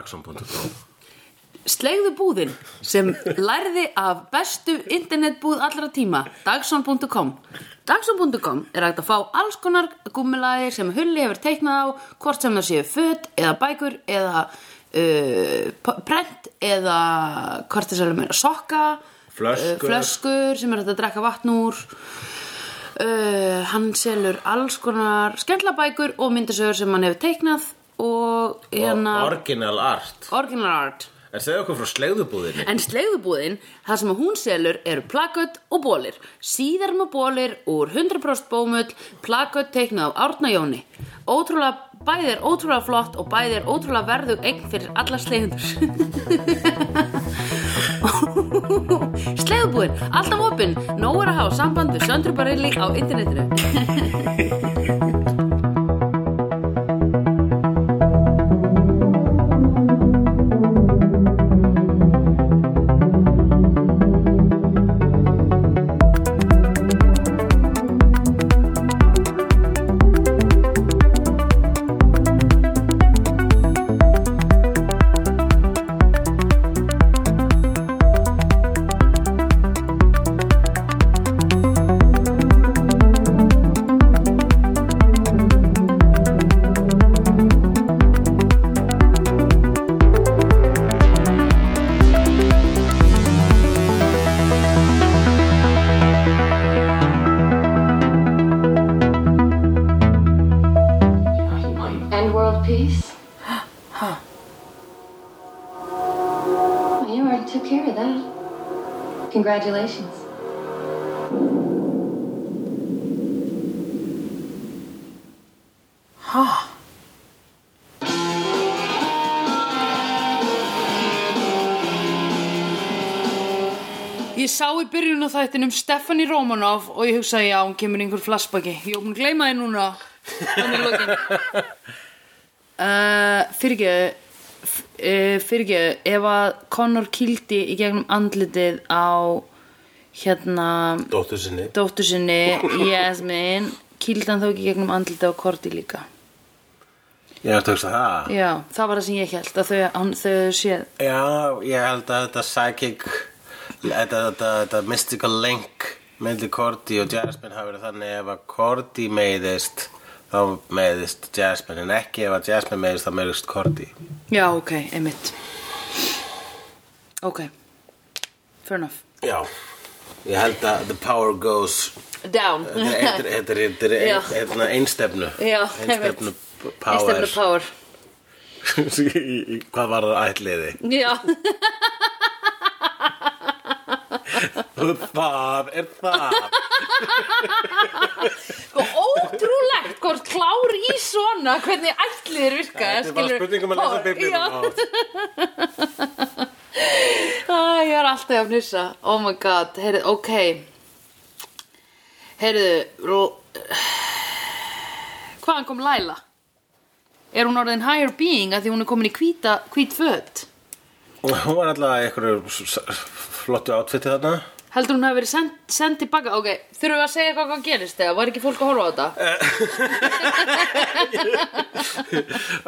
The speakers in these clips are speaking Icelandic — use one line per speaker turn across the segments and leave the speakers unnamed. Dagsum.com
Slegðu búðin sem lærði af bestu internetbúð allra tíma, Dagson.com. Dagson.com er hægt að fá alls konar gúmulaðir sem Hulli hefur teiknað á, hvort sem það séu föt eða bækur eða uh, p- prent eða hvort það séu meira sokka,
Flöskur.
eh, flöskur sem er hægt að drekka vatn úr. Uh, hann selur alls konar skemmtlabækur og myndisögur sem hann hefur teiknað og hérna
Original art
original art
En segðu okkur frá slegðubúðinni
En slegðubúðin, það sem hún selur eru plakött og bólir. Síðarm og bólir úr 100% bómull, plakött teiknað af Árna Jóni. Ótrúlega, bæði er ótrúlega flott og bæði er ótrúlega verðug eign fyrir alla slegðundur. Slegðubúðin, alltaf opinn, nóg er að hafa samband við Söndru Barilli á internetinu.
And world peace? Well, you already took care of that. Congratulations.
Ég sá í byrjun á þættinum Stefani Romanov og ég hugsaði já, hún kemur einhver flashbacki. Ég er búin að gleyma þið núna. Þannig lokin. Uh, fyrirgeðu, f- uh, fyrirgeðu, ef að Connor kýldi í gegnum andlitið á hérna
Dóttur sinni
dóttur sinni, Jasmine, kýldi hann þó ekki í gegnum andlitið á Korti líka.
Ég hef tökst að það
Já, það var það sem ég held að þau, hann, þau hefðu séð.
Já, ég held að þetta psychic Þetta, þetta, þetta mystical link Mildi Korti og Jasmine hafi verið þannig Ef að Korti meiðist Þá meiðist Jasmine En ekki ef að Jasmine meiðist þá meiðist Korti
Já, ok, einmitt. Ok, fair enough.
Já Ég held að the power goes
Down.
Þetta er- þetta er- þetta er- þetta
Já.
er hérna einstefnu
Já,
Einstefnu
einmitt.
power
Einstefnu power
Í- í- Hvað var það ætliði?
Já,
Það er það
sko ótrúlegt hvort klár í svona hvernig ætliðir virka
Þetta er bara spurningum að lesa biblíuna
Já, Æ, ég er alltaf að fnissa Oh my god, heyrðu, ok Heyrðu rú... Hvaðan kom Laila? Er hún orðin higher being að því hún er komin í hvíta, hvít föt?
Hún var alltaf einhverju s- s- flottu átfitti þarna
Heldur hún hafi verið send, send tilbaka? Ok, þurfum við að segja hvað, hvað gerist eða var ekki fólk að horfa á þetta?
Eh.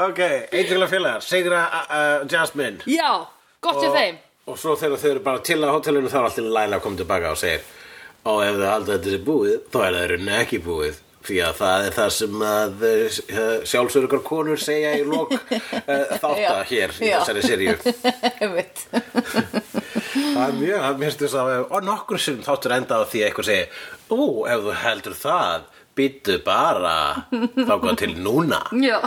Ok, einhverjulega félagar, Sigra uh, Jasmine
Já, gott hjá þeim
Og svo þegar þau eru bara til á hótelinu þá er alltaf Laila að koma tilbaka og segir Og ef þau halda þetta er búið, þá er það í rauninni ekki búið Því að það er það sem að sjálfsögur konur segja í lok uh, þátta
Já,
hér í
já.
þessari seríu
Einmitt.
Það er mjög, það mér styrst að og nokkur sem þáttur enda á því að eitthvað segi Ú, ef þú heldur það, býttu bara þá hvað til núna
Já,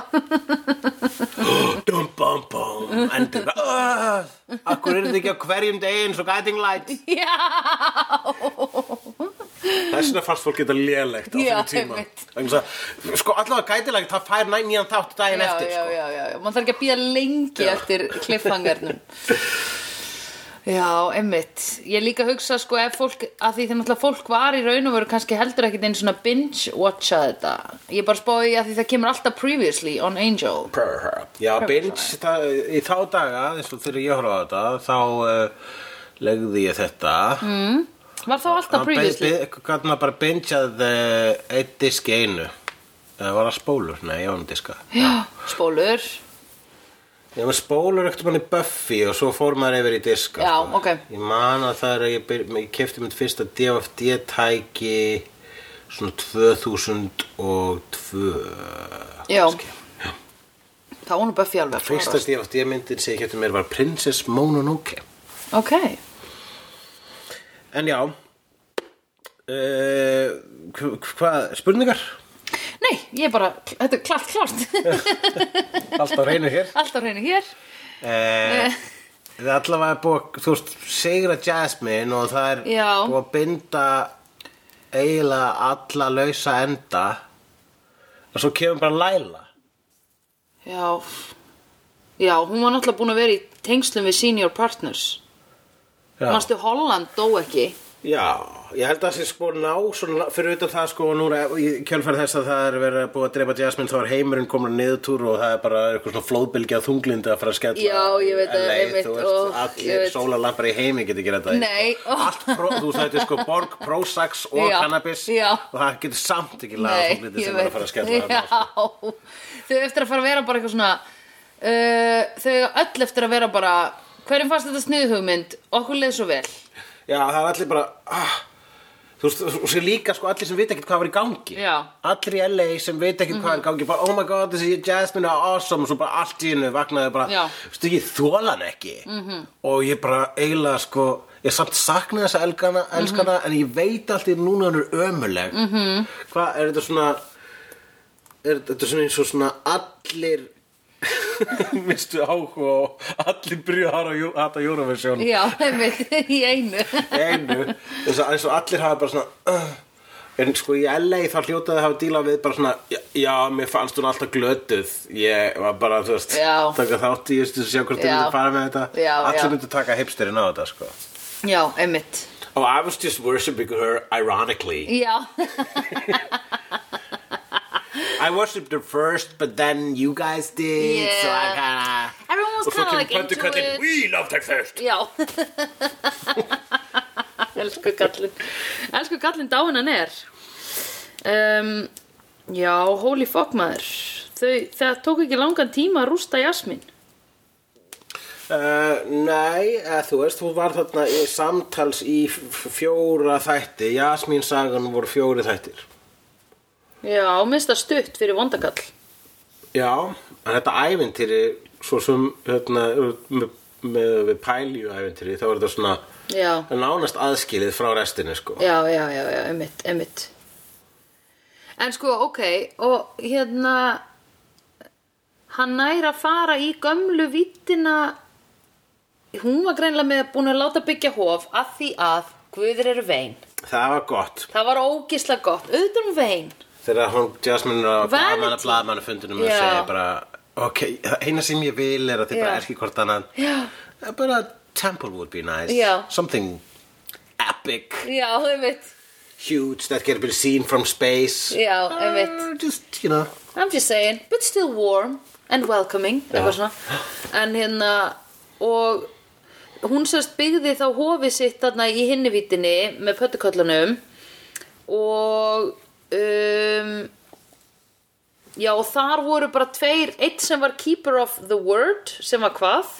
Dum bum bum, endur uh, Akkur eru þið ekki á hverjum degi eins og guiding light
já
Þess vegna fannst fólk geta lélegt á
Já,
þessum tíma
einmitt.
Vegna þess að, Sko allavega gætilegt það fær næ- nýjan þátt daginn
já,
eftir
já,
sko.
já, já, já, mann þarf ekki að býja lengi eftir kliffhangarnum Já, einmitt Ég líka hugsa sko ef fólk að því þegar náttúrulega fólk var í raun og veru kannski heldur ekkit einu svona binge-watcha þetta Ég bara spáði að því það kemur alltaf previously on Angel
Prr, prr. Já, binge það, í þá daga eins og þegar ég horfa á þetta þá uh, legði ég þetta mm,
Var þá
Ah,
alltaf previously?
Hvernig maður bara bingeað uh, eitt disk Eh, í einu Það var að spólur, nei, ég var um diska
Já, spólur
Ég var spólur ekkert manni Buffy og svo fór maður yfir í diska
Já,
sko.
ok.
Ég man að það er að ég, byr, ég kefti mitt fyrsta DFD tæki svona 2002
Já. Það var nú Buffy alveg að
Fyrsta
klárast.
DFD myndin sem ég kefti mér var Princess Mononoke
Ok.
En já uh, Hvað, spurningar?
Nei, ég er bara, þetta er klart, klart.
Allt á reynu hér
Allt á reynu hér.
Eh, Það er allavega búið að, þú veist, sigra Jasmine og það er
Já.
búið að binda eiginlega alla lausa enda og svo kemur bara Laila
Já. Já, hún var náttúrulega búin að vera í tengslum við senior partners.
Já,
Manstu Holland dó ekki.
Já ég held að það sé sko ná svona, fyrir utan það sko og núna í kjölfæri þess að það er verið að búið að dreifa Jasmine þá er heimurinn komin að niðurtúr og það er bara eitthvað svona flóðbylgja af þunglindi að fara að skella
Já, ég veit að-
LA,
einmitt,
þú
ó,
veist,
ég
allir
veit.
sólalampar í heimi getur gera þetta
Nei, ó.
allt pro, þú veist þetta er sko borg, Prozac og
Já,
cannabis
já.
og það getur samt ekki laga þunglindi sem er að fara að skella þarna, sko.
Já, þau eftir að fara að vera bara eitthvað svona uh, Þau eiga öll eftir að vera bara Hverjum fannst þetta sniðhugmynd? Okkur leið svo vel
Já, það er allir bara ah, Þú veist, og sér líka sko allir sem veit ekkert hvað var í gangi
Já.
Allir í LA sem veit ekkert hvað var í gangi bara, oh my god, þessi Jasmine er awesome og svo bara allt í hennu vaknaði bara
Já. Mhm.
Vistu, ég þola hann ekki -hmm. og ég bara eiginlega sko ég samt sakna þessa elskana, elskana
Mhm.
en ég veit allt í einu núna að hann er ömuleg mm -hmm. Hvað, er þetta svona er þetta svona eins og svona allir mistu áhuga og allir byrju að hata- hata Eurovision
Já, einmitt, í einu
einu þess að eins og allir hafa bara svona uh, en sko í LA þá hljótaði að hafa dílað við bara svona já, já, mér fannst hún alltaf glötuð ég var bara, þú veist,
Já.
taka þátt í just, sjá hvort þau
Já.
myndu fara með þetta
Já,
allir
já.
myndu taka hipsterinn á þetta sko.
Já, einmitt
oh, I was just worshipping her ironically
Já,
I worshipped her first but then you guys did so I
Yeah.
kinda
everyone was
og svo
kind of like
kemur
into
pöntuköllin
it
we loved her first
Já Elsku kallinn Elsku kallinn dáin hann er um, Já, holy fuck maður Þau, Það tók ekki langan tíma að rústa Jasmín
Uh, nei, eða, þú veist, þú var þarna í, samtals í f- fjóra þætti Jasmín sagan voru fjóri þættir
Já, minnst það stutt fyrir vondakall
Já, en þetta ævintýri svo sem hérna, með, með við pælju ævintýri þá er þetta svona
Já,
nánast aðskilið frá restinni sko
já, já, já, já, einmitt, einmitt En sko, ok, og hérna hann nær að fara í gömlu vittina hún var greinlega með búin að láta byggja hof að því að guðir eru vein
Það var gott
Það var ógisla gott, auðvitað um vein
þegar hún Jasmine er að
Vanity.
blaðmanna blaðmanna fundinum og
Já.
segja bara ok, það eina sem ég vil er að þið
Já.
bara erki hvort annan
Já.
bara temple would be nice
Já.
something epic
Já, einmitt,
huge that can be seen from space
Já,
Uh,
einmitt.
just, you know
I'm just saying, but still warm and welcoming eitthvað svona en hérna og hún sérst byggði þá hofið sitt þarna í hinnivítinni með pöttuköllunum og um, já og þar voru bara tveir eitt sem var keeper of the word sem var hvað?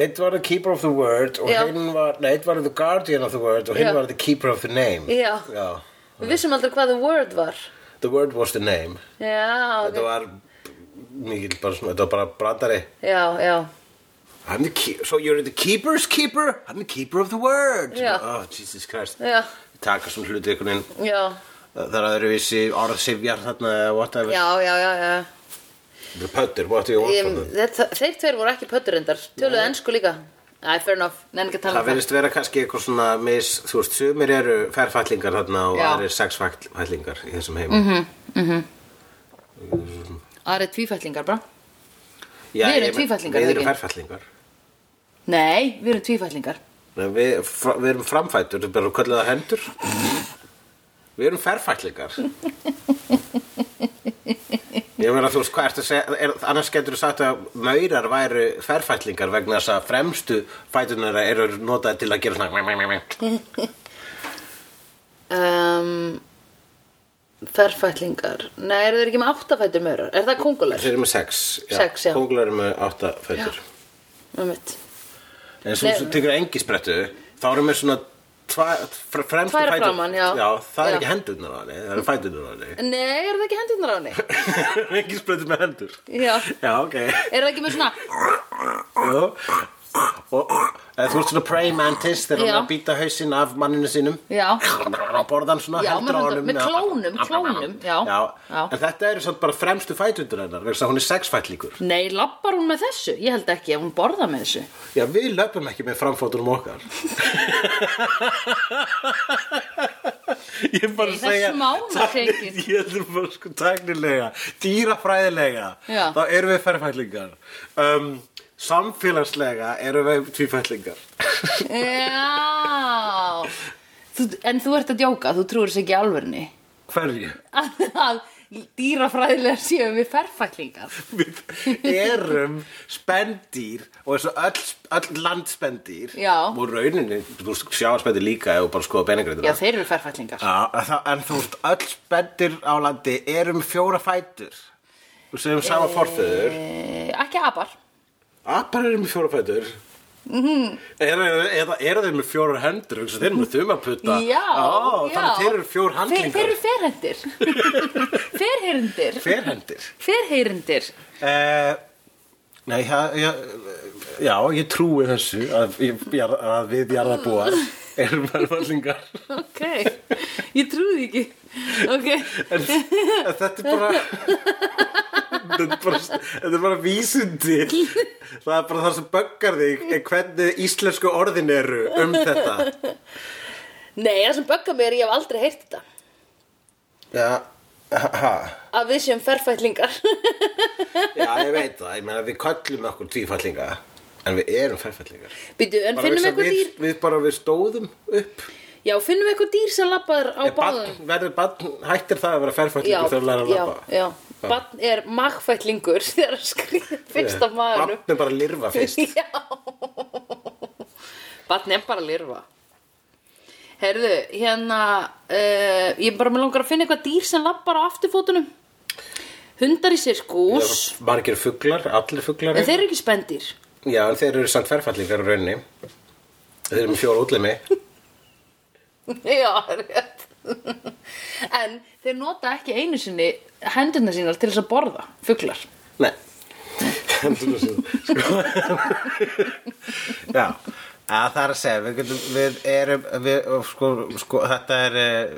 Eitt var the keeper of the word og
Já.
hinn var, nei, eitt var the guardian of the word og hinn
Já.
var the keeper of the name
Já.
Já.
við vissum aldrei hvað the word var
The word was the name
já,
Þetta
ok.
var mikil bara svona, þetta var bara brandari
já, já
I'm the keeper, so you're the keeper's keeper I'm the keeper of the word
Já.
Oh, Jesus Christ
Já.
Taka svona hluti einhvern veginn
já,
Það er öðruvísi orðsifjar þarna eða whatever
já, já, já, já.
The putter, what do you want
Ég,
from them?
þetta, þeir tveir voru ekki pötturindar Töluðu ennsku líka Æ, fair enough, nefn ekki að tala
Það
um það
verðist vera kannski eitthvað svona mis, þú veist, sumir eru ferfætlingar þarna og
Já. Mhm.
aðrir sexfætlingar í þessum heim mm -hmm.
Aðra er tvífætlingar bara
Já,
Við erum
ég-
tvífætlingar,
Við
eða
erum
ekki?
ferfætlingar
Nei, við erum tvífætlingar
Nei, Við, fra, við erum framfætur, þetta er bara kallið að hendur Við erum ferfætlingar Ég meina þú veist hvað ertu að segja er, Annars getur þú sagt að maurar væru ferfætlingar vegna þess að fremstu fætunar eru notaði til að gera svona
um, ferfætlingar Nei, eru þeir ekki með áttafættur maurar? Er það kongular?
Þeir eru með sex
Sex, já.
Kónglar eru með átta fötur
Með mitt
En svo
Nei.
sem tekur engisprettu Þá eru með svona tva, fr- fremstu
Tvær
fætur-
framan, já.
það er
Já.
ekki hendurnar á henni Það eru fæturnar á henni
Nei, eru það ekki hendurnar á henni?
Engisprettu með hendur
Já
Já, ok
Eru það ekki með svona
Já. Og eða þú ert svona prey mantis þegar hann
Já.
er að býta hausinn af manninu sínum
Já
og borða hann svona
Já,
heldur á
með handa-
honum
með
Já.
klónum, klónum, já.
já.
Já.
En þetta eru svona bara fremstu fætundur hennar vegna þess að hún er sexfætlíkur
Nei, lappar hún með þessu? Ég held ekki að hún borða með þessu
Já, við löpum ekki með framfótunum okkar Ég er bara
Nei,
að segja
þessu má hún
tækni-
ekki ekki.
Ég heldur bara sko tæknilega dýrafræðilega
Já.
þá erum við ferfætlingar um, Samfélagslega erum við tvífætlingar
Já þú, En þú ert að djóka, þú trúir þess ekki í alvörni
Hverju?
að, að dýrafræðilega séum við ferfæklingar
Við erum spendýr og þessu öll, öll landspendýr
Já.
og rauninni, þú sjáarspendýr líka ef þú bara skoða beningreitur
Já, þeir eru ferfæklingar
En þú veist, öll spendýr á landi erum fjóra fætur og segjum sama forföður
e, Ekki abar
Apar eru með fjóra fætur
Mhm.
Eru eða eru þeir með fjórar hendur hugsa, þeir eru með þumaputta
Já,
Ó,
já.
þannig að þeir eru fjór
Þeir, þeir
handlingar
eru ferhendir Ferherindir
ferhendir
Ferherindir
Eh, Nei, já, já, já, ég trúi þessu að, ég- jar- að við jarðarbúar erum verðvallingar
Ok, ég trúði ekki Ok,
en, en þetta er bara þetta er bara, þetta er bara vísindi það er bara það sem böggar þig er hvernig íslensku orðin eru um þetta
nei, það sem böggar mér, ég hef aldrei heyrt þetta
Já, ha,
Að við séum ferfætlingar
já, ég veit það ég meina við köllum okkur tvífallinga en við erum ferfallingar
Býtu, en finnum eitthvað
við,
dýr
við bara við stóðum upp
Já, finnum eitthvað dýr sem labbaður á
Er
báðum
barn- verður barn, hættir það að vera
Já,
ferfætlingur þegar það læra að
já,
lappa
já Bann er magfætlingur þegar það skrýður fyrst af maðurum
Barn er bara að lirfa fyrst
Já Bann er bara að lirfa Herðu, hérna uh, Ég bara með langar að finna eitthvað dýr sem labbar á afturfótunum Hundar í sirkus
Margir fuglar, allir fuglar
En þeir eru ekki spendýr
Já, en þeir eru samt ferfætlingar á rauninni Þeir eru með fjóra útlimi
Já, rétt En þeir nota ekki einu sinni hendurna sínar til þess að borða fuglar
Nei Sko Já að það er að segja, við, getum, við erum við, sko, sko, þetta er eh,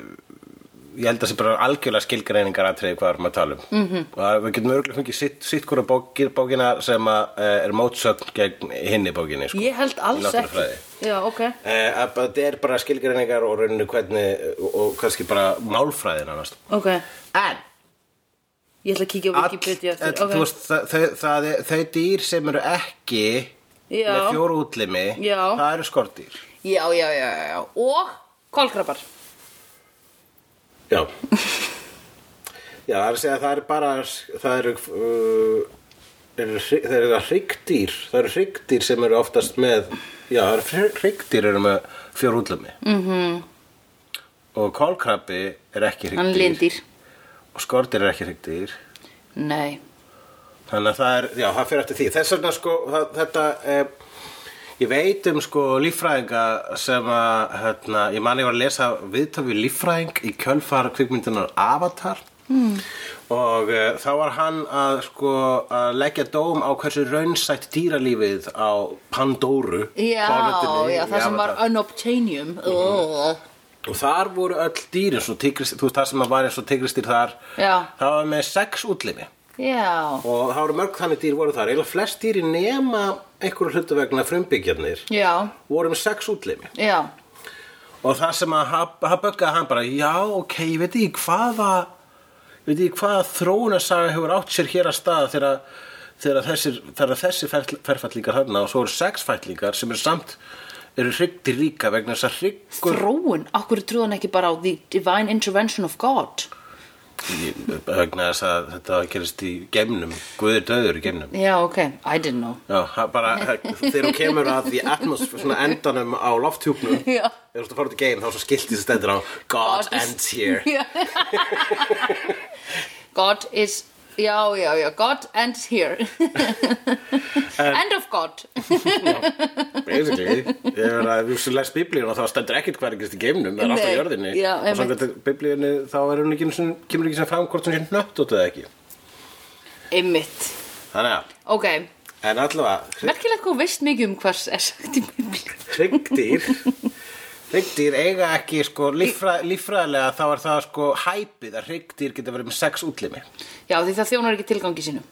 ég held að sé bara algjörlega skilgreiningar aðtriði hvað við erum að tala um mm -hmm. og við getum örgulega fengið sitt, sitt hvora bókir, bókina sem að, eh, er mótsögn gegn hinni bókinni sko.
Ég held
Í
alls ekki
náttúrufræði.
Já, ok
Eh, að að þetta er bara skilgreiningar og rauninu hvernig og, og kannski bara málfræðin annars
Ok,
en
ég ætla að kíkja á
all,
Wikipedia
all, eh,
eftir
þú veist, það, þau, það, er- þau dýr sem eru ekki
Já.
með fjóru útlimi
Já.
það eru skordýr
Já, já, já, já, já Og kólkrabbar
já já það er að segja að það eru bara það eru uh, eru hry- það eru hryggdýr það eru hryggdýr sem eru oftast með já það eru hryggdýr eru með fjóru útlimi mm -hmm. og kólkrabbi er ekki
Mhm. Hann er
hryggdýr
lindýr
og skordýr er ekki hryggdýr
Nei
Þannig að það er, já, það fyrir eftir því. Þess vegna, sko, það, þetta, eh, ég veit um, sko, líffræðinga sem að, hérna, ég man ég var að lesa viðtöfi líffræðing í kjölfar kvikmyndunar Avatar
Hmm.
mm. og eh, þá var hann að, sko, að leggja dóm á hversu raunsætt dýralífið á Pandóru.
Já,
plánetunni
já,
í
það sem var
Avatar.
unobtainium mm.
Og þar voru öll dýr eins og tigrist, þú veist, það sem að var eins og tigristýr þar,
Já.
það var með sex útlimi.
Já,
og það voru mörg þannig dýr voru þar eiginlega flest dýr í nema einhverju hlutu vegna frumbyggjarnir
já,
voru með sex útlimi
já
og það sem að hafa böggaði hann bara já ok, ég veit ekki hvaða ég veit ekki hvaða þróunasaga hefur átt sér hér að staða þegar þegar þessir, þegar þessir ferl- ferfætlingar hann og svo eru sexfætlingar sem eru samt eru hryggdir ríka
Sko-
vegna þess að hryggur
Þróun, okkur trúðan ekki bara á the divine intervention of God
Ég- vegna þess að þetta gerist í geimnum Guðir döður í geimnum
Já, ok, I didn't know
Já, það bara, þegar hún kemur að því atmosfér, svona endanum á lofthjúpnum
Já.
Þegar þú ert að fara út í geim þá er svo skilt því stendur á God ends here
Já. God is Já, já, já, God ends here End of God
Basically, þegar að þú sem les biblíuna þá stendur ekkert hvað er gerist í geimnum Það er alltaf
Nei.
í jörðinni
Já,
Og
einmitt.
samkvæmt biblíunni þá er hún ekki, einu sinni- kemur ekki sem fram hvort hún sé nött út eða ekki
Einmitt
Þannig að,
Ok,
en allavega,
merkilegt hvað þú veist mikið um hvers er sagt í biblíu
hryggdýr Hryggdýr eiga ekki sko líffra, líffræðilega þá er það sko hæpið að hryggdýr geta verið með sex útlimi
Já, því það þjónar ekki tilgangi sínum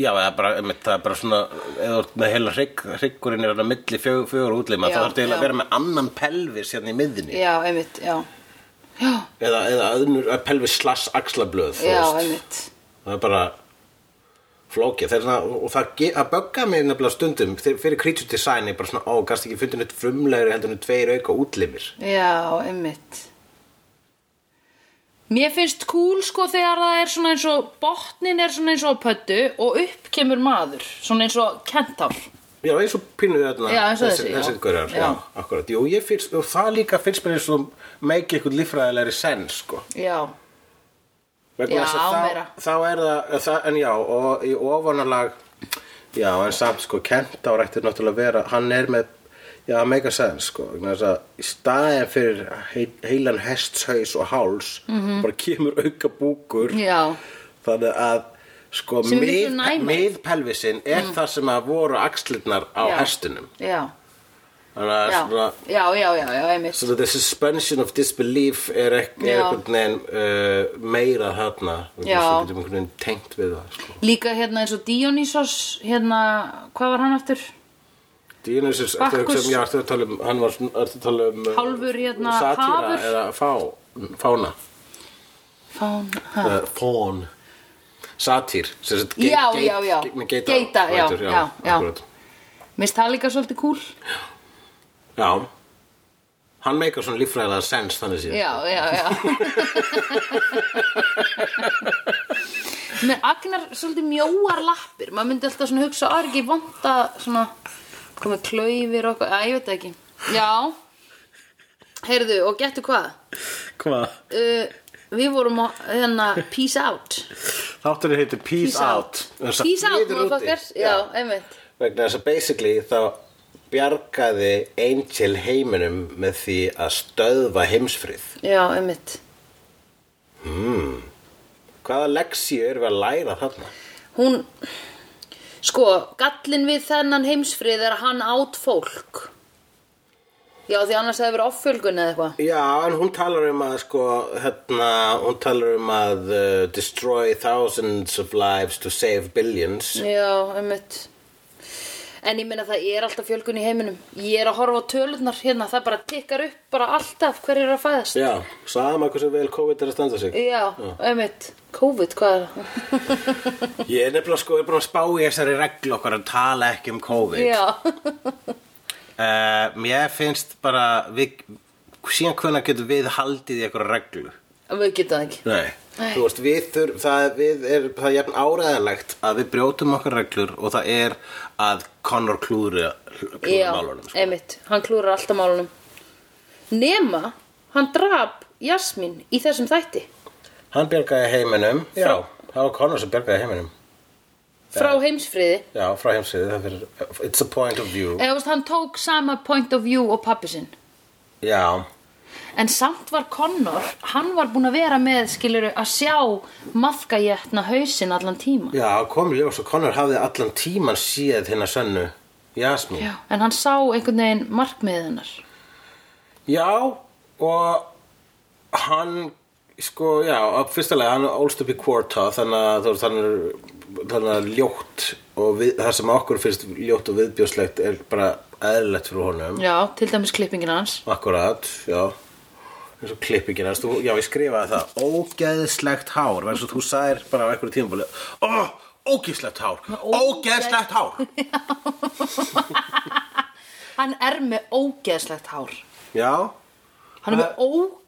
Já, það er bara, einmitt, það er bara svona eða þú ert með heila hrygg, hryggurinn er hann að milli fjögur, fjögur útlima
Já,
þá þarf það
já.
að vera með annan pelvis hérna í miðinni
Já, einmitt, já Já,
eða, eða öðnur, pelvis slass axlablöð þú
já,
veist.
einmitt
það er bara flókið það er svona, og það, ge- það bögga mig nefnilega stundum þegar fyrir creature design er bara svona, ó, gæst ekki fundin eitt frumlegri heldur en tveir auka útlimir
Já, einmitt Mér finnst cool sko þegar það er svona eins og botnin er svona eins og á pöttu og upp kemur maður, svona eins og kentár
Já, eins og pínuðu þarna
Já, eins og þessi,
þessi,
já.
þessi gaurjar,
Já.
já, akkurat Jú, ég finnst, og það líka finnst mér eins og meiki eitthvað líffræðilegri sens, sko
Já, Já,
Vegna þess að
meira.
þá, þá er það, eh, það, en já, og í ofanalag Já, en samt, sko, Kentar ætti náttúrulega að vera, hann er með Já, það meika sens, sko, vegna þess að í staðin fyrir heil, heilan hestshaus og háls bara kemur auka búkur
Mhm. Já.
þannig að sko,
Sem er miklu
mið,
næmari.
miðpelvisin er það sem að voru axlirnar á
Já.
hestinum
já,
þannig að
já,
svona,
já, já, já, já, einmitt
Svona the suspension of disbelief er, ek, er
Já.
einhvern veginn uh, meira þarna og
Já.
svo getum um einhvern veginn tengt við það sko.
Líka hérna eins og Dionysos, hérna, hvað var hann aftur?
Dionysus, ertu að hugsa
Bakkus.
um, já, ertu að tala um hann var, svona- ertu að tala um uh,
Hálfur, hérna,
satíra
hafur.
eða fá, fána
Fán, ha?
uh, fón satýr sem sagt, ge-
Já,
geit-
já, já.
ge- með geita,
Geita, já,
vætur,
já, já.
akkúrat.
Mist það líka svolítið cool?
já hann meikar svona líffræðilega sens þannig síðan
Já, já, já Með Agnar svolítið mjóar lappir maður myndi alltaf svona hugsa að er ekki vont að svona komið klaufir og eitthvað, að ég veit það ekki Já Heyrðu, og getur hvað?
hvað?
Uh, við vorum á, hérna, peace out
þátturinn heitir Peace,
Peace
Out, Þess að
Peace out,
friður úti.
motherfuckers Já, einmitt
vegna þess að basically þá bjargaði Angel heiminum með því að stöðva heimsfrið.
Já, einmitt
Hvaða leksíu erum við að læra þarna?
Hún, sko, gallin við þennan heimsfrið er að hann átt fólk Já, því annars hefði verið offjölgun eða eitthvað
Já, en hún talar um að sko, hérna, hún talar um að uh, destroy thousands of lives to save billions.
Já, einmitt En ég meina það er alltaf fjölgun í heiminum Ég er að horfa á tölurnar hérna Það bara tikkar upp bara alltaf hverju er að fæðast
Já, sama hversu vel COVID er að standa sig.
Já, einmitt COVID, hvað er það?
Ég er nefnilega sko, ég er búin að spá í þessari reglu okkar að tala ekki um COVID.
Já,
Uh, mér finnst bara, við, síðan hvernig getum við haldið í einhverja reglu?
við getum það ekki
Nei.
Nei.
Þú veist, við þurf, það, við er, það er jafn áræðalegt að við brjótum okkar reglur og það er að Connor klúðri
Já,
málunum. Sko.
einmitt, hann klúrar alltaf málunum Nema, hann drap Jasmín í þessum þætti
Hann bjargaði heiminum, já, það var Connor sem bjargaði heiminum.
Frá heimsfriði
Já, frá heimsviði, það fyrir, it's a point of view.
Eða þú veist, hann tók sama point of view og pappi sinn
Já,
En samt var Connor, hann var búinn að vera með, skiluru, að sjá maðkajætna hausinn allan tíma.
já, kom í ljós og Connor hafði allan tíman síð hérna sönnu, Jasmín.
Já. En hann sá einhvern veginn markmiðið hennar.
Já, og hann, sko, já, að fyrsta lega, hann ólst upp í Quarta, þannig að þú veist, hann er, þannig að ljótt og við, það sem okkur finnst ljótt og viðbjóðslegt er bara eðlilegt fyrir honum.
Já, til dæmis klippingin hans.
Akkurat, já, eins og klippingin, hans, þú, já, ég skrifaði það, ógeðslegt hár, verðs og þú sagðir bara á einhverju tímabóli, ó, ógeðslegt hár, ógeðslegt hár.
Hann er með ógeðslegt hár.
Já,
Hann er með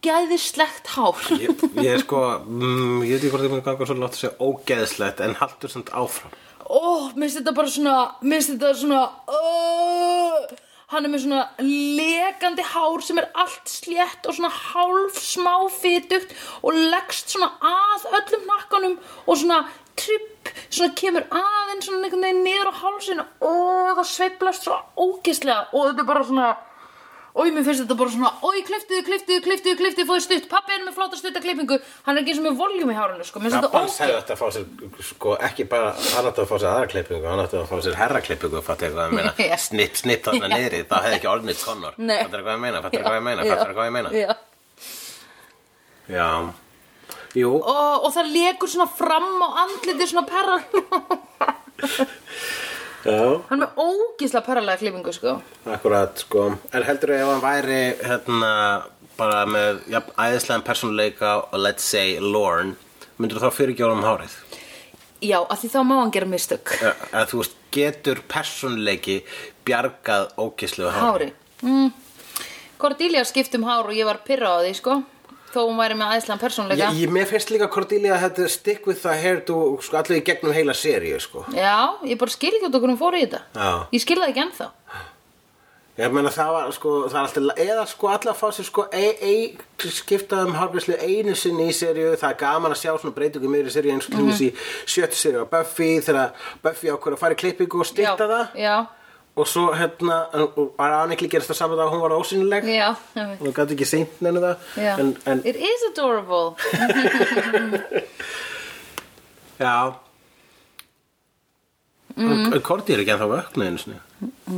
ógæðislegt hár
Ég, ég er sko, mm, ég veit ekki hvort ég mun að ganga svo látt að segja ógeðslegt en haldur samt áfram.
Ó, minnst þetta bara svona minnst þetta svona uh, Hann er með svona lekandi hár sem er allt slétt og svona hálf smá fitugt og leggst svona að öllum nakkanum og svona tripp svona kemur aðeins svona einhvern veginn niður á hálsinu og það sveiflast svo ógeðslega og þetta er bara svona Ói, mér finnst þetta bara svona, ói, kliftiðu, kliftiðu, kliftiðu, kliftiðu, fóðu stutt, pappi er með flóta stutta klippingu, hann er ekki eins og með voljum í hárinu, sko, mér finnst þetta
Rabban
ógeð.
sagði þetta að fá sér, sko, ekki bara, hann átti að fá sér aðra klippingu, hann átti að fá sér herraklippingu, fattu hvað ég meina,
Já.
snipp, snipp þarna
Já.
niðri, þá hefði ekki orðnið konor,
Nei.
fattu hvað ég meina, fattu hvað ég meina, fattu hvað ég meina.
Já.
Já, jú,
og, og það lekur svona fram á andliti svona perrar
já.
hann er með ógísla perralega klippingu sko
Akkurat, sko. En heldur ef hann væri hérna bara með ja, æðislegan persónuleika og let's say Lorne, myndur þú þá fyrirgjóra um hárið?
já, af því þá má hann gera mistök
Eh, Að þú veist, getur persónuleiki bjargað ógislegu hári?
hári mm. Cordelia skipti um hár og ég var pyrra á því sko þó hún væri með aðeinslega persónleika
Ég, ég, mér finnst líka Cordelia að þetta stick with the hair do, sko, allir í gegnum heila seríu, sko.
já, ég bara skil ekki út okkur hún fór í þetta
Já.
ég skil það ekki ennþá
Ég meina það var, sko, það er alltaf, eða sko allar fá sér, sko, e, e, skipta um hárgræslu einu sinni í seríu, það er gaman að sjá svona breytingu í miðri seríu eins og knús
Mhm.
í sjöttu seríu á Buffy, þegar Buffy ákveður að fara í klippingu og
já,
styrta það,
já,
og svo, hérna, og Anikli gerist það saman að hún var ósynileg,
já, já.
og hún gæti ekki seint neina það,
Já.
en, en,
It is adorable
já, mm.
Mhm.
en Korti er ekki ennþá vöknu einu sinni.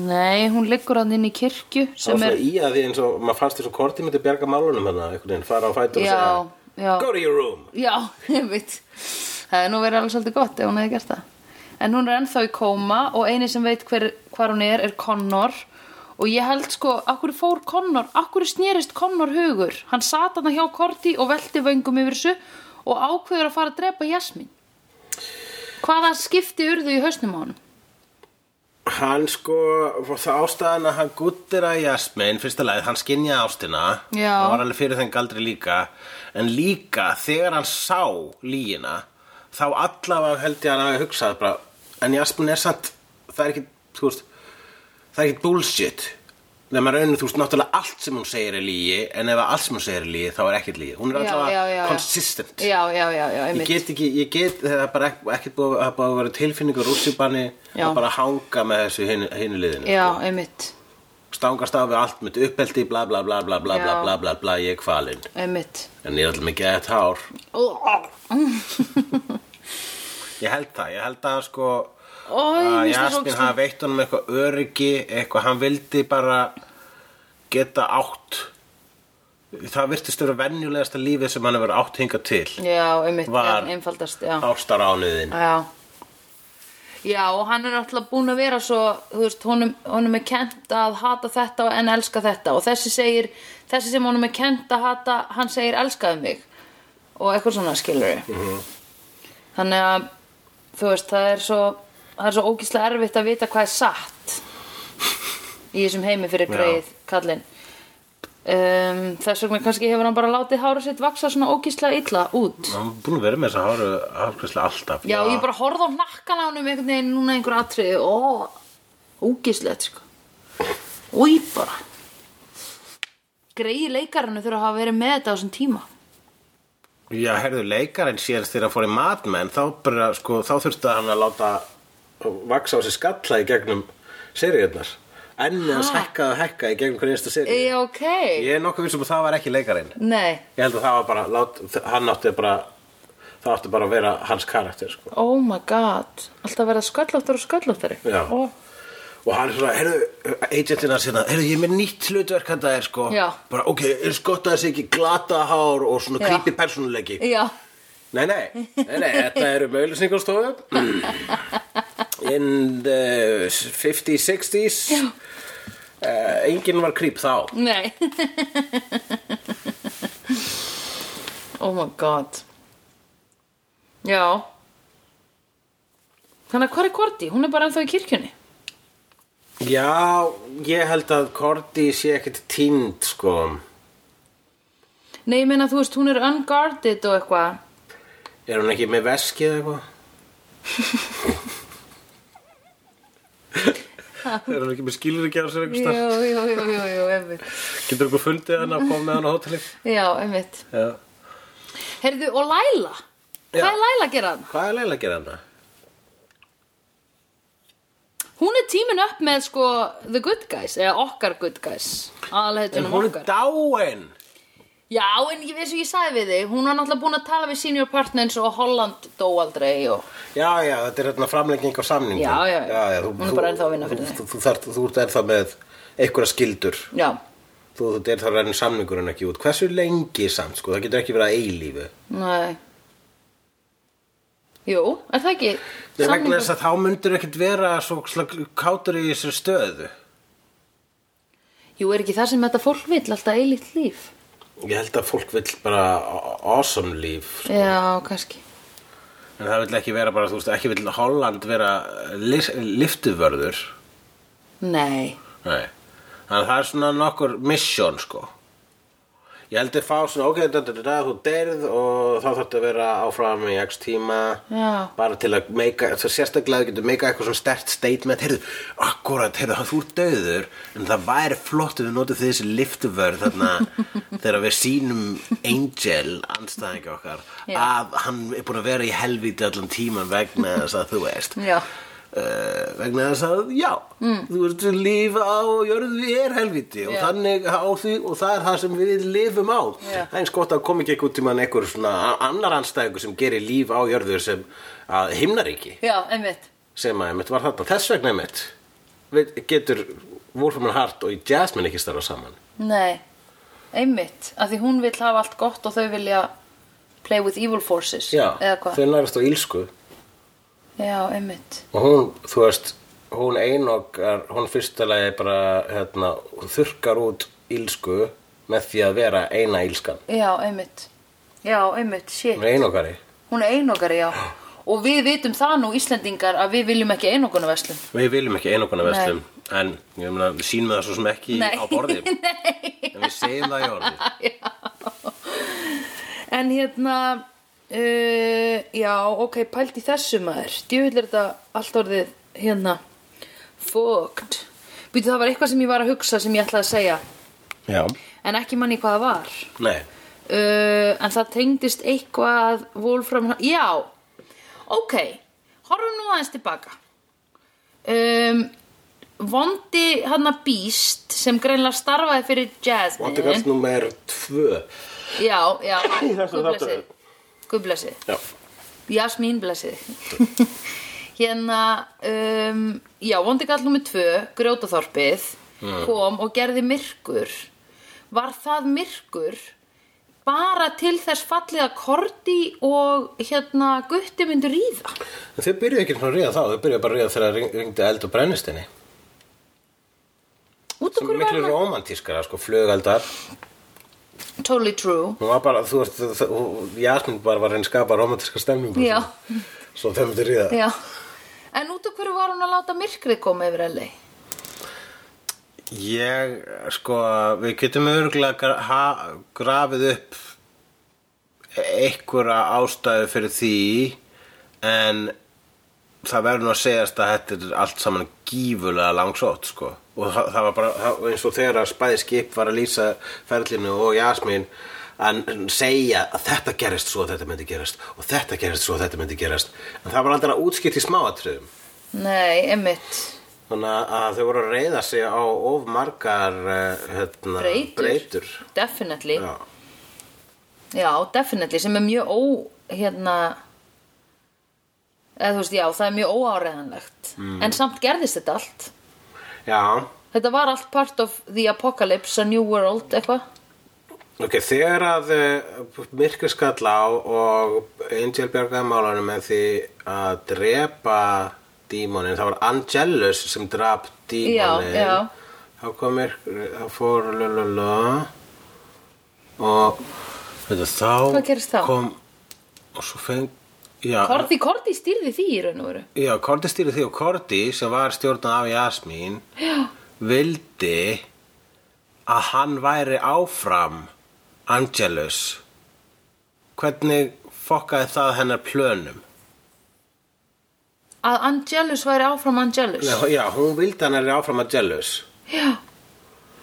Nei, hún liggur hann inn í kirkju
Það
sem
var
er
svona í að því eins og, maður fannst þess að Korti myndi bjarga málunum hérna, einhvern veginn, fara á fætur og
Já,
segja,
já.
go to your room.
Já, ég veit Það er nú verið alveg svolítið gott ef hún hefði gert það En hún er ennþá í kóma og eini sem veit hver, hvar hún er er Connor og ég held sko, akkur fór Connor akkur snerist Connor hugur hann sat hann hjá Korti og velti vöngum yfir þessu og ákveður að fara að drepa Jasmín Hvaða skipti urðu í hausnum á honum?
Hann sko, það ástæðan að hann guttir að Jasmin, fyrsta leið, hann skinjaði ástina
Já.
og var alveg fyrir þeim galdri líka en líka þegar hann sá lígina þá allavega held ég að hann hafi hugsað bara, en Jasmin er samt það er ekki, þú veist það er ekki bullshit þegar maður raunir, þú veist, náttúrulega allt sem hún segir er lígi en ef allt sem hún segir er lígi, þá er ekkert lígi hún er
Já, já, já,
allavega
já.
consistent
Já, já, já, já,
Ég
einmitt
get ekki, ég get, það er bara ekki, ekki búið, það er bara að vera tilfinningur rússibanni
Já.
að bara hanga með þessu hinu, hinu liðinu. sko.
Já, einmitt,
Stangast á við allt mitt uppeldi, bla bla bla bla bla bla
Já.
bla bla bla, ég er kvalinn.
einmitt
En ég er alltaf mikið að þetta hár.
Ó,
Ég held það, ég held að sko
ég
að
misti
Jasmin
svolítið.
hafa veitt honum eitthvað öryggi, eitthvað hann vildi bara geta átt. Það virtist vera venjulegasta lífið sem hann hefur átt hingað til.
Já, einmitt,
Var-
já, einfaldast já.
Ástaránuðin.
Já Já og hann er alltaf búin að vera svo þú veist, honum, honum er kent að hata þetta en elska þetta og þessi segir þessi sem honum er kent að hata hann segir elskaðu mig og eitthvað svona skilur Þannig að þú veist það er svo það er svo ógíslega erfitt að vita hvað er satt í þessum heimi fyrir
Já.
greið kallinn um, Þess vegna kannski hefur hann bara látið hára sitt vaksa svona ógíslega illa út
Hann er búin að vera með þessa háru hárkvæslega alltaf.
Já, ég bara horfði á nakkan á honum einhvern veginn núna einhver atriði og ógislegt sko. Új bara. Greiði leikarinu þurfa að hafa verið með þetta á þessum tíma.
Já, herðu, leikarinn síðan þegar hann fór í Mad Men þá, bara, sko, þá þurfti hann að láta vaksa á sig skalla í gegnum seríunar enn að hækka og hækka í gegnum hvernig einstu seríu
Já, ok.
Ég er nokkuð vissum að það var ekki leikarinn
Nei,
Ég held að það var bara, lát, hann átti bara það átti bara að vera hans karakter sko.
oh my god. Alltaf verða sköllóttar og sköllóttari.
Já.
Ó,
og hann er svona, herðu, agentina sinna herðu, hérna, ég er með nýtt hlutverk hann það er sko
Já.
bara, ok, er skott að þessi ekki glata hár og svona
Já.
creepy persónuleiki
Já.
Nei, nei, nei, nei, þetta eru möglusingarstofu In the 50s, 60s uh, Engin var creep þá
Nei. oh my god. Já. Þannig að hvað er Korti? Hún er bara ennþá í kirkjunni.
Já, ég held að Korti sé ekkit tínd, sko
Nei, ég meina, þú veist, hún er unguarded og eitthvað.
Er hún ekki með veskið eða eitthvað? er hún ekki með skilur ekki á sér
Jú,
einhverstað?
jú, jú, jú, jú, einmitt.
Getur okkur fundið hana og komið hana á hótelið?
Já, einmitt.
Já.
Heyrðu, og Laila?
Já.
Hvað er Laila að gera hann?
Hvað er Leila að gera hana?
Hún er tímin upp með, sko, the good guys, eða okkar good guys.
En
Aðalheitunum
hún er
okkar.
dáin!
Já, en ég veist og ég sagði við þig, hún var náttúrulega búin að tala við senior partners og Holland dó aldrei og...
Já, já, þetta er hérna framlenging á samningum.
Já, já, já.
þú,
Hún er
þú-
bara ennþá að vinna fyrir
þú, þú, þú, þarft- þú ert ennþá með einhverja skildur.
Já,
Þú, þú ert þá rennir samningurinn ekki út. Hversu lengi samt, sko? Það getur ekki verið að eilífu.
nei. Jú, er það ekki?
Nei, vegna
samningur-
þess að þá myndur ekkert vera svo slag, kátur í þessari stöðu.
Jú, er ekki það sem þetta fólk vill, alltaf eilítt líf?
Ég held að fólk vill bara awesome líf.
Já, kannski.
En það vill ekki vera bara, þú veist, ekki vill Holland vera lis- lyftuvörður.
Nei.
Nei. Þannig að það er svona nokkur mission, sko. Ég held að fá svona, ok, da, da, da, da, þú deyrð og þá þarftu að vera áfram í x tíma.
Já.
Bara til að meika, svo sérstaklega þú getur meika eitthvað svona stert statement. Heyrðu, akkurat, heyrðu, þú ert döður, en það væri flott ef við notum þessi liftuvörð þarna þegar við sýnum Angel, anstæðingi okkar,
Já.
að hann er búin að vera í helvíti allan tíman vegna þess að þú veist
Já.
uh, vegna þess að já, þú ert að lifa á jörðu er helviti og
Mm. Já.
þannig á því og það er það sem við lifum á
Já.
það er eins gott að koma ekki eitthvað tímann einhver svona a- annar anstæðingur sem gerir líf á jörðu sem að himnaríki
Já, einmitt.
sem að emitt var þetta, þess vegna emitt við getur Wolfram and Hart og Jasmine ekki starfa saman
Nei. Einmitt. Af því hún vill hafa allt gott og þau vilja play with evil forces.
já,
Eða hvað?
þau nærast á ílsku
Já, einmitt.
og hún, þú veist hún einokar, hún fyrstulega bara hérna, þurkar út ílsku með því að vera eina ílskan
Já, einmitt. Já, einmitt. Shit.
hún er einokari
Hún er einokari, já. Og við vitum það nú Íslendingar að við viljum ekki einokunarverslun.
við viljum ekki einokana vestlum en ég meina, við sýnum það svo sem ekki
Nei.
á borði en við segjum það í orði
En hérna, uh, já, ok, pælt í þessu maður. Djúvill er þetta allt orðið hérna fucked. Býtu það var eitthvað sem ég var að hugsa sem ég ætlaði að segja.
já,
En ekki manni hvað það var.
nei,
Uh, en það tengdist eitthvað Wolfram, já ok, horfum nú aðeins tilbaka um, vondi hann að býst sem greinlega starfaði fyrir
vandi
Jasmine
galt nummer tvö
já, já,
þessum
guðblessið
þáttum.
guðblessið
já,
Jasmín blessið hérna um, já, vondi kall nummer tvö grjótaþorpið kom og gerði myrkur var það myrkur bara til þess fallið að Korti og hérna Gutti myndu ríða
en þau byrjuðu ekki svona að ríða þá þau byrjuðu bara að ríða þegar ring- ringdi eld og brennistinni
út
sem er
okkur var
miklu
það
romantískara, sko, flugaldar
totally true
hún var bara, þú veist, þ- hún- Jasmine bara var að reyna að skapa romantíska stemningu
Já.
sko. svo þau myndir ríða
já. en út okkur var hún að láta myrkrið koma yfir LA
Ég, sko, við getum örgulega gra ha- grafið upp einhverja ástæðu fyrir því en það verður nú að segjast að þetta er allt saman gífulega langsótt, sko og það, það var bara, það, eins og þegar að spæði skip var að lýsa ferlinu og Jasmín að segja að þetta gerist svo að þetta myndi gerast og þetta gerist svo að þetta myndi gerast en það var aldrei að útskýrt í smáatriðum
nei, emmitt
Þannig að- að þau voru að reyða sig á of margar uh, hérna,
breytur,
breytur.
definitely
Já.
Já, definitely, sem er mjög ó, hérna, eða þú veist, já, það er mjög óáreðanlegt.
Mm.
En samt gerðist þetta allt.
Já,
Þetta var allt part of the apocalypse, a new world, eitthvað.
ok, þegar að uh, myrkur skall á og Angel bjargaði málunum með því að drepa dímonin, það var Angelus sem drap dímonin.
Já, já.
Þá kom myrkur, þá fór lululula og veitu, þá,
Hvað gerist þá?
kom og svo feng, já,
Korti, Korti stýrði því í raun og veru.
Já, Korti stýrði því og Korti sem var stjórnað af Jasmín vildi að hann væri áfram Angelus hvernig fokkaði það hennar plönum?
Að Angelus væri áfram Angelus.
Nei, Já, hún vildi hann er áfram að jealous
Já,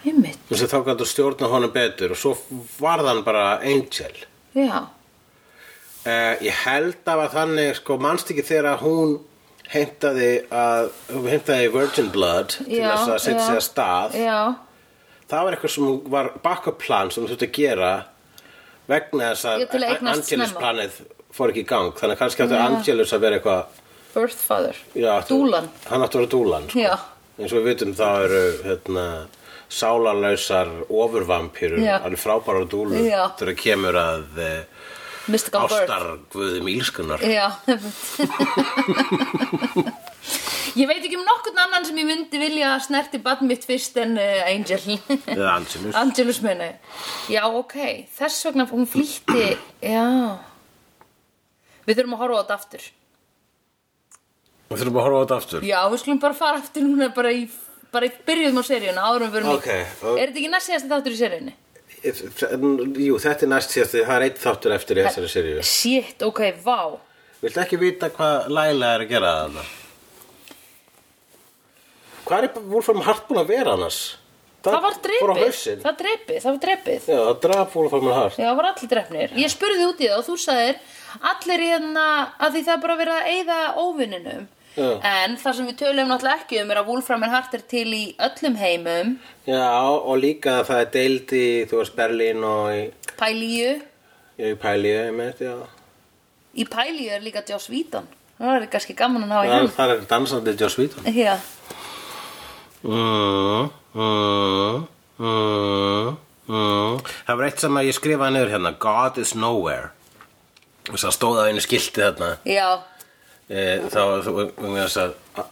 einmitt.
Þú veist þá gættu stjórna honum betur og svo varð hann bara angel
Já,
uh, Ég held að var þannig sko mannst ekki þegar að hún heimtaði að hún heimtaði virgin blood til
já.
þess að setja
já.
sig að stað
Já,
það var eitthvað sem hún var backup plan sem þú þurfti að gera vegna þess
Já, til að
að
eignast
Angelus
snemma.
planið fór ekki í gang þannig að kannski áttu Angelus að vera eitthvað
birth father.
já, áttu-
Dúlan.
hann áttu að vera dúlan sko.
Já.
eins og við vitum það eru hérna, sálarlausar ofurvampýrur
Já.
alveg frábæra dúlur
Já.
þegar kemur að eh,
Mystical birth.
ástarguðum ílskunar
Já, einmitt. Ég veit ekki um nokkurn annan sem ég myndi vilja að snerti badn mitt fyrst en uh, Angel.
eða Angelus
Angelus meina ég. Já, ok. Þess vegna hún flýtti, já. Við þurfum að horfa á þetta aftur.
og þurfum að horfa á þetta aftur
Já, við skulum bara fara aftur núna bara í, bara í byrjuðum á seríuna áður en við verum
Ok,
í.
og-
Er þetta ekki næst síðast þáttur í seríunni?
Jú, þetta er næst síðast það er eitt þáttur eftir í þessari seríu
Shit, ok, vá.
Viltu ekki vita hvað Laila er að gera þarna? Hvað er Wolfram Hart búin að vera annars?
Það, var
Fór á
drepið.
hausinn.
Það drepið, það var drepið.
Já, það draf Wolfram Hart.
Já, það var allir drefnir. Ég spurði út í það og þú sagðir allir hérna að því það er bara verið að eyða óvinninum.
Já.
En það sem við tölum náttúrulega ekki um er að Wolfram en Hart er til í öllum heimum,
Já, og líka að það er deild í, þú veist, Berlín og í,
Pælíu.
í Pælíu, ég meint, já.
Í Pælíu er líka Joss Whedon. Það er kannski gaman að ná í
Það,
hann.
það er dansandi Joss Whedon.
Já,
Mm, mm, mm, mm. Það var eitt sem að ég skrifaði niður hérna, God is nowhere. Og það stóð á einu skilti þarna.
já,
Eh, þá þú um þess að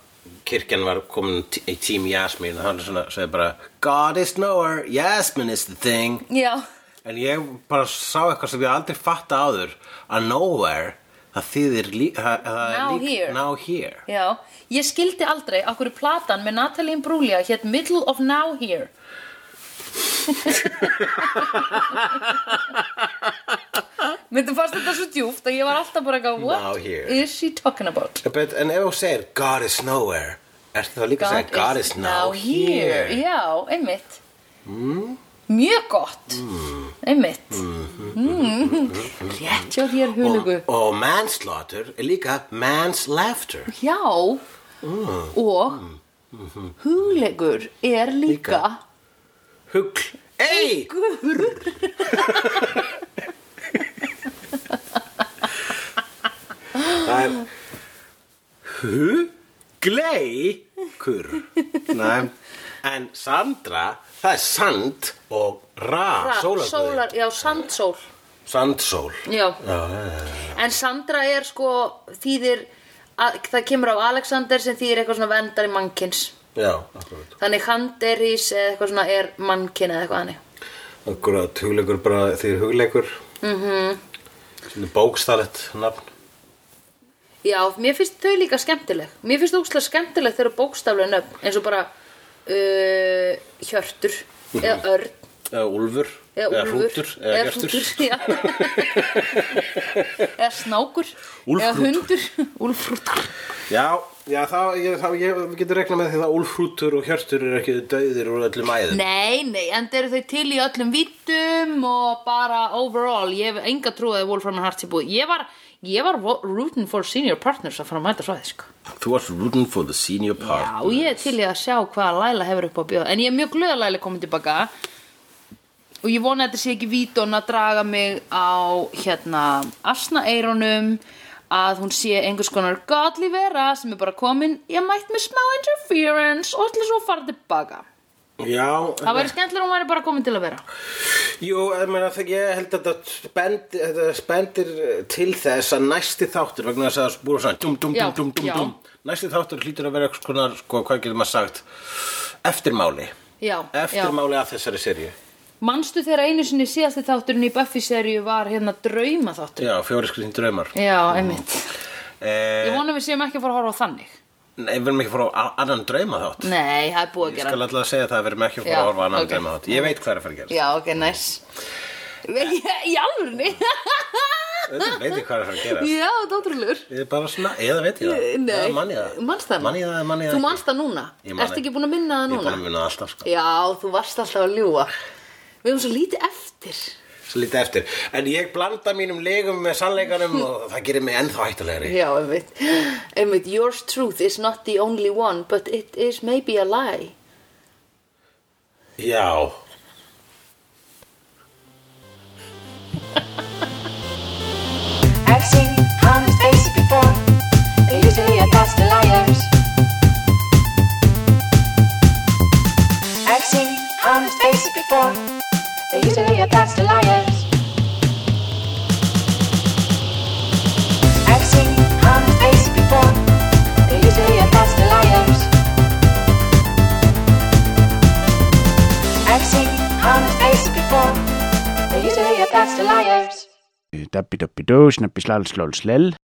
kirkjan var komin t- í tím Jasmine og hann svona segi bara God is nowhere, Jasmine is the thing
já,
en ég bara sá eitthvað sem ég aldrei fatta áður að nowhere það þýðir lí, það, það er
Now
lík,
here.
now here
já. Ég skildi aldrei af hverju platan með Natalie Imbruglia hétt Middle of Now Here. Myndum fast þetta svo djúft að ég var alltaf bara eitthvað
Now
What
here."
is she talking about?
But, en ef þú segir God is nowhere ertu þá líka að segja God is now here, Mm.
Já, einmitt Mjög gott Einmitt Mm. Rétt hjá þér hulugu
Mm-hmm. og, og manslaughter er líka manslaughter
Já
Mm.
Og huglegur er líka
Mm-hmm. Líka. hugl, ei
Guður
Það er Hugleikur Nei En Sandra, það er sand og ra, sólarguði
Já, sandsól
Sandsól
Já.
Já, já, já.
En Sandra er sko þýðir að, það kemur á Alexander sem þýðir eitthvað svona vendari mannkins
já akkurat
Þannig Handeris eða eitthvað svona er mannkinn eða eitthvað hannig
Akkurat, hugleikur bara því hugleikur mm -hmm. Svona bókstælet nafn
Já, mér finnst þau líka skemmtileg. Mér finnst ókslega skemmtileg þegar bókstaflega nöfn eins og bara uh, Hjörtur eða Örn
Eða Úlfur
eða Úlfur
Hrútur Eða Gertur
Hrútur, já. eða Snákur
Úlfrútur.
eða Hundur Úlfrútur
Já, já, þá, ég, þá ég, við getum regnað með því að Úlfrútur og Hjörtur eru ekki döðir úr öllum æðum
Nei, nei, en eru þau til í öllum vittum og bara overall ég hef enga trúið að Wolfram and Hart sé búið ég var, ég var vo- rooting for senior partners að fara að mæta svo aðeins sko.
Þú varst rooting for the senior part
Já, ég er til í að sjá hvað Laila hefur upp á að bjóða En ég er mjög glöð að Laila komið tilbaka Og ég vona að þetta sé ekki vítón að draga mig á hérna asnaeirunum að hún sé einhvers konar godly vera sem er bara komin ég mætt með smá interference og ætla svo að fara tilbaka
Já,
Það væri skemmtilega að hún væri bara komin til að vera
Jú, ég, meina, það- ég held að þetta spendir, þetta spendir eh, til þess að næsti þáttur vegna þess að það búið svona dum, dum,
Já,
dum, dum, dum,
já.
dum. Næsti þáttur hlýtur að vera eitthvað svona, sko, hvað getur maður sagt eftirmáli
Já, já
eftirmáli að þessari serju
Manstu þegar einu sinni síðasti þátturinn í Buffy-seríu var hérna drauma þáttur
Já, fjóri skriðin draumar
Já, einmitt Ég
eh,
vona að við séum ekki að fara að horfa á þannig
Nei, við erum ekki að fara á a- annan drauma þátt
Nei, það er búið að
Ég
gera
skal alltaf að segja það að við erum ekki að
Já,
fara að horfa á annan
ok.
drauma þátt Ég veit hvað er að fara að gerast
Já, ok, næs
Eh.
Í alvörni?
Auðvitað veit ég hvað er að fara að gera
Já, þetta er ótrúlegur. Eh,
Ég er bara svona, eða veit ég það
Nei.
Eða Eh, man ég það
Manst það?
Man ég það, man ég það
Þú
ekki.
manst það núna?
Ég man
Ertu
ekki.
ekki búin að minna það
Ég er
núna?
bara að muna það alltaf sko
Já, þú varst alltaf að ljúa. Við höfum svo lítið eftir.
Svo lítið eftir En ég blanda mínum legum með sannleikanum Og það gerir mig ennþá hættulegri
Já, einmitt. Einmitt, yours truth is not the only one, but it is maybe a lie.
Já
I've seen honest faces before. They're usually a pass of liars. I've seen honest faces before. They're usually a pass of liars. I've seen honest faces before. They're usually a pass of liars. I've seen honest faces before. They're usually a pass of liars.
Dabbi dabbi dó, snabbi slal slól slell.